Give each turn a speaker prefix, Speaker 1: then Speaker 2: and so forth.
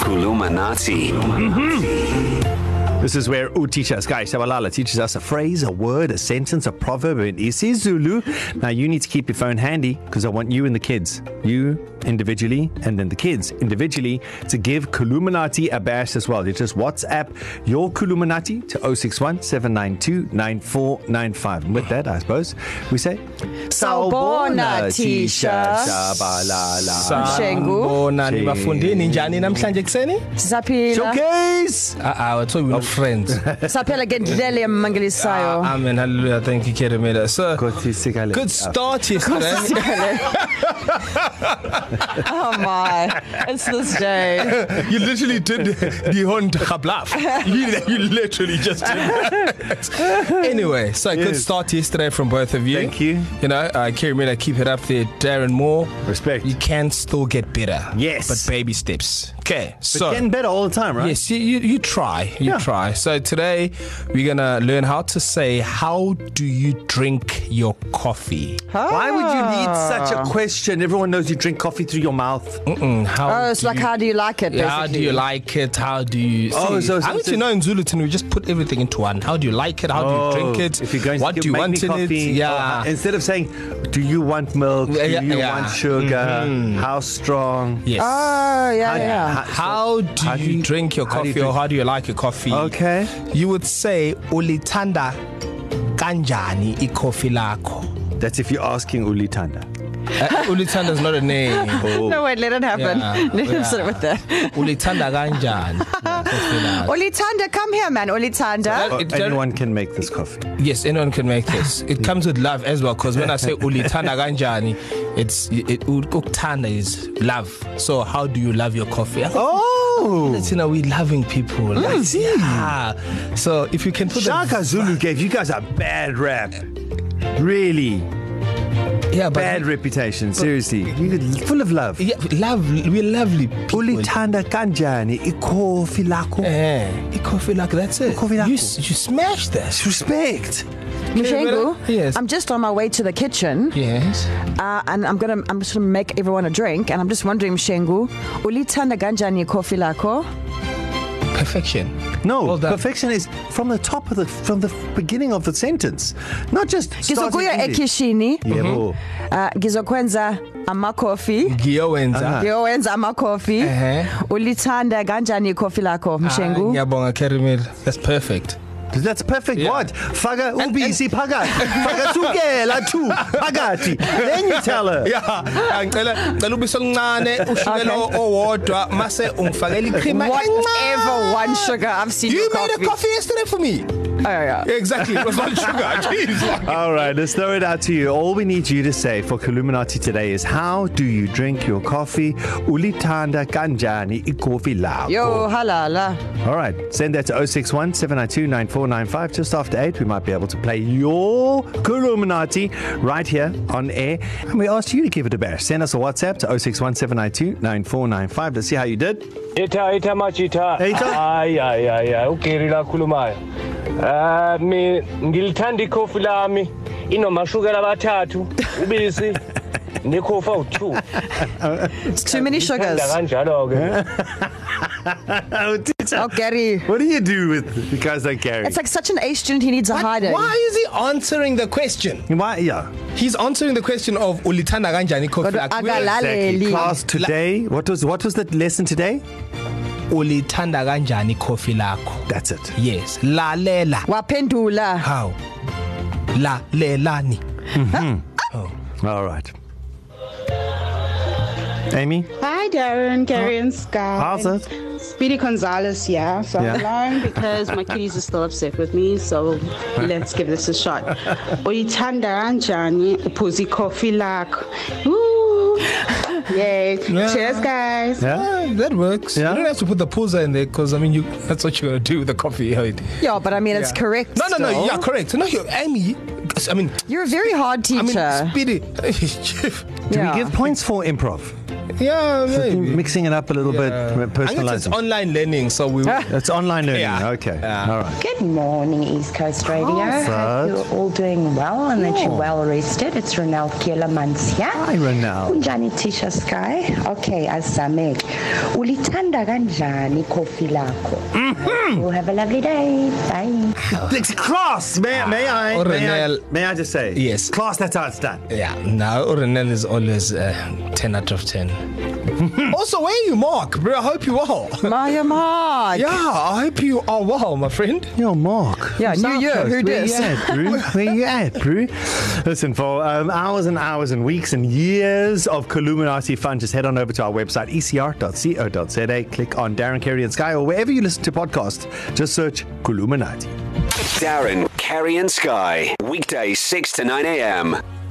Speaker 1: Kulumanati.
Speaker 2: This is where Utisha Sky Shabalala teaches us a phrase, a word, a sentence, a proverb in isiZulu. Now you need to keep your phone handy because I want you and the kids, you individually and then the kids individually, to give Kuluminati a bash as well. You just WhatsApp your Kuluminati to 061 792 9495. And with that, I suppose, we say
Speaker 3: Sawubona, Tisha.
Speaker 2: Shabalala.
Speaker 3: Shengu.
Speaker 4: Sanibona nibafundini njani namhlanje ekseni?
Speaker 3: Sisaphila.
Speaker 2: Showcase!
Speaker 4: Ah ah I told you we're not friends.
Speaker 3: Saphila ngendlela
Speaker 4: Ah,
Speaker 3: emmangalisayo.
Speaker 4: Amen hallelujah thank you Keremela. So
Speaker 2: Kotisikale.
Speaker 4: good start yesterday.
Speaker 3: Oh my. It's this day.
Speaker 4: you literally did the Hond Hablaf. You, you literally just did that. Anyway, so yes. good
Speaker 2: Yes.
Speaker 4: start yesterday from both of you.
Speaker 2: Thank you.
Speaker 4: You know, uh, Kerry Miller, keep it up there. Darren Moore.
Speaker 2: Respect.
Speaker 4: You can still get better.
Speaker 2: Yes.
Speaker 4: But baby steps. Okay, so.
Speaker 2: Getting better all the time, right?
Speaker 4: Yes, you, you, you try. You
Speaker 2: Yeah.
Speaker 4: yeah. try. So today we're going to learn how to say, How do you drink your coffee?
Speaker 2: Why would you need such
Speaker 3: Ah.
Speaker 2: a question? Everyone knows you drink coffee through your mouth.
Speaker 4: Mm, How
Speaker 3: Oh, it's like how do you like it?
Speaker 4: Yeah, How do
Speaker 3: basically?
Speaker 4: you like it? How do you?
Speaker 2: Oh,
Speaker 4: See,
Speaker 2: so- so-
Speaker 4: I need
Speaker 2: so-
Speaker 4: to know in Zulu we just put everything into one. How do you like it? How oh, do you drink it?
Speaker 2: If you're going
Speaker 4: what
Speaker 2: to
Speaker 4: do you
Speaker 2: make
Speaker 4: want
Speaker 2: me
Speaker 4: in
Speaker 2: coffee,
Speaker 4: it?
Speaker 2: uh,
Speaker 4: Yeah.
Speaker 2: instead of saying, "Do you want milk? Do
Speaker 4: Yeah,
Speaker 2: you
Speaker 4: yeah.
Speaker 2: want sugar? Mm-hmm. How strong?"
Speaker 4: yes. Uh,
Speaker 3: Oh, yeah,
Speaker 2: How-
Speaker 3: yeah.
Speaker 2: how-
Speaker 4: How do,
Speaker 2: Ah. How
Speaker 4: how
Speaker 2: do
Speaker 4: do you,
Speaker 2: you-
Speaker 4: you drink your
Speaker 2: how do you
Speaker 4: coffee drink? or
Speaker 2: drink-
Speaker 4: how do you like your coffee?
Speaker 2: Okay.
Speaker 4: You would say ulithanda kanjani i-coffee lakho.
Speaker 2: That's if you're asking Ulitanda.
Speaker 4: Uh, ulithanda is not a name.
Speaker 3: No, wait, let it happen.
Speaker 4: Yeah,
Speaker 3: Let him
Speaker 4: yeah.
Speaker 3: sit with that.
Speaker 4: ulithanda kanjani i-coffee lakho.
Speaker 3: Olitanda, come here, man. Olitanda.
Speaker 4: Uh,
Speaker 2: Oh,
Speaker 4: it-
Speaker 2: anyone can make this coffee.
Speaker 4: Yes, anyone can make this. It comes with love as well because when I say ulithanda kanjani, it's it ukuthanda is love. So how do you love your coffee? Oh.
Speaker 2: Oh,
Speaker 4: You know, we loving people. Like, yeah. So if you can put
Speaker 2: Mm, Shaka Zulu gave you guys a bad rap. Really
Speaker 4: that, yeah, but
Speaker 2: bad reputation. Seriously, you could, full of love.
Speaker 4: yeah, love, we're lovely people.
Speaker 2: Ulitanda kanjani ikofi lakho?
Speaker 4: Eh, coffee like that's it.
Speaker 2: Coffee
Speaker 4: you,
Speaker 2: lakho.
Speaker 4: you smash this.
Speaker 2: Respect.
Speaker 3: Mshengu,
Speaker 4: Yes.
Speaker 3: I'm just on my way to the kitchen
Speaker 4: Yes.
Speaker 3: uh, and I'm going to I'm just going to make everyone a drink and I'm just wondering Mshengu, ulithanda kanjani coffee lakho?
Speaker 4: Perfection.
Speaker 2: No, well
Speaker 4: Well done.
Speaker 2: perfection is from the top of the from the beginning of the sentence, not just.
Speaker 3: Ngizokuya ekishini.
Speaker 2: Yebo.
Speaker 3: Uh, ngizokwenza ama-coffee
Speaker 2: Uh-huh.
Speaker 4: Giyowenza.
Speaker 3: ngiyowenza ama-coffee
Speaker 4: Ehhe.
Speaker 3: ulithanda kanjani ikhofi lakho mshengu
Speaker 4: Ah, Ngiyabonga Kerimel. That's perfect.
Speaker 2: That's a perfect yeah.
Speaker 4: Yeah.
Speaker 2: word. Faga ubisi phakathi. Faga sukela tu phakathi. Then you tell her.
Speaker 4: Yeah, yeah, ngicela ngicela ubisi oluncane ushukela
Speaker 3: Okay.
Speaker 4: owodwa mase ungifakela icream
Speaker 3: whatever one sugar i've seen
Speaker 4: You
Speaker 3: your
Speaker 4: made a coffee yesterday for me.
Speaker 3: Oh, yeah.
Speaker 4: Exactly. It was one sugar. Jeez.
Speaker 2: All right, let's throw it out to you. All we need you to say for Kuluminati today is how do you drink your coffee? Ulitanda kanjani ikofi lao.
Speaker 4: Oh.
Speaker 3: yo halala
Speaker 2: All right, send that to 061 792 9495. Just after 8, we might be able to play your Kuluminati right here on air. And we asked you to give it a bash. Send us a WhatsApp to 061 792 9495. Let's see how you did.
Speaker 5: Itha itha machitha.
Speaker 2: Itha?
Speaker 5: Hayi hayi hayi ugeri la khulumayo. Ah mi ngilithanda ikhofi lami inomashukela abathathu ubisi nekhofi awu2.
Speaker 3: it's too many sugars
Speaker 5: kanjalo ke.
Speaker 2: Oh, teacher.
Speaker 3: oh gary
Speaker 2: What do you do with the guys like Gary?
Speaker 3: it's like such an a student he needs a hide in.
Speaker 4: Why is he answering the question?
Speaker 2: Why? Yeah.
Speaker 4: He's answering the question of ulithanda kanjani coffee
Speaker 3: Kodwa
Speaker 4: lakho.
Speaker 3: akalali. Laleli.
Speaker 2: Class today. What was what was the lesson today?
Speaker 4: Ulithanda kanjani coffee lakho?
Speaker 2: That's it.
Speaker 4: Yes. Lalela.
Speaker 3: waphendula
Speaker 4: How? Lalelani.
Speaker 3: Mm-hmm.
Speaker 4: Oh.
Speaker 2: All right. Amy,
Speaker 6: Hi, Darren, Gary, and Sky.
Speaker 2: how's it?
Speaker 6: Speedy Gonzalez, yeah. So
Speaker 2: Yeah.
Speaker 6: yeah. I'm alone because my kiddies are still upset with me. So let's give this a shot. Oyitanda kanjani uphuza coffee lakho. Woo! Yay.
Speaker 4: Yeah.
Speaker 6: Yeah. Cheers, guys.
Speaker 2: Yeah.
Speaker 4: Ah, that works. Yeah.
Speaker 2: Yeah.
Speaker 4: You don't have to put the pulsa in there because I mean you that's what you're gonna do with the coffee. Right?
Speaker 3: yeah but i mean it's
Speaker 4: Yeah.
Speaker 3: correct
Speaker 4: No, no, no.
Speaker 3: still.
Speaker 4: Yeah, correct. No, you, Amy. I mean,
Speaker 3: you're a very hard
Speaker 4: I
Speaker 3: teacher
Speaker 4: mean,
Speaker 3: yeah
Speaker 4: Speedy.
Speaker 2: Do we give points for improv?
Speaker 4: Yeah, maybe.
Speaker 2: Mixing it up a little
Speaker 4: Uh,
Speaker 2: bit,
Speaker 4: I think it's
Speaker 2: personalizing.
Speaker 4: online learning, so we.
Speaker 2: It's online learning.
Speaker 4: Yeah.
Speaker 2: Okay.
Speaker 4: Yeah.
Speaker 2: All right.
Speaker 1: Good morning, East Coast Radio.
Speaker 2: Fred.
Speaker 1: Hope you're all doing well and that you're
Speaker 2: Yeah.
Speaker 1: well rested. It's Ronal Kielemans here.
Speaker 2: Hi, Ronal.
Speaker 1: Unjani Tisha Sky? Okay, asamek. Ulithanda kanjani ikhofi lakho? Well, have a lovely day. Bye.
Speaker 2: It's class. May, may I?
Speaker 4: Oh,
Speaker 2: May I,
Speaker 4: Renel.
Speaker 2: may I just say?
Speaker 4: Yes.
Speaker 2: Class. That's how it's done.
Speaker 4: Yeah, now nah, Renel is always uh, 10 out of 10. also, where are you, Mark? Bro, I hope you are.
Speaker 3: Maya Mark.
Speaker 4: yeah, I hope you are well, my friend.
Speaker 2: Yo, Mark.
Speaker 3: Yeah,
Speaker 2: from
Speaker 3: New
Speaker 2: South
Speaker 3: Year,
Speaker 2: Coast,
Speaker 3: who
Speaker 2: Where
Speaker 3: dis?
Speaker 2: you at, Brew? Where you at, Brew? Listen, for um, hours and hours and weeks and years of Columinati fun, just head on over to our website, E ecr.co.za, click on Darren Carey and Sky, or wherever you listen to podcasts, just search Columinati.
Speaker 7: Darren, Kerry, and Sky. Weekday 6 to 9 a.m.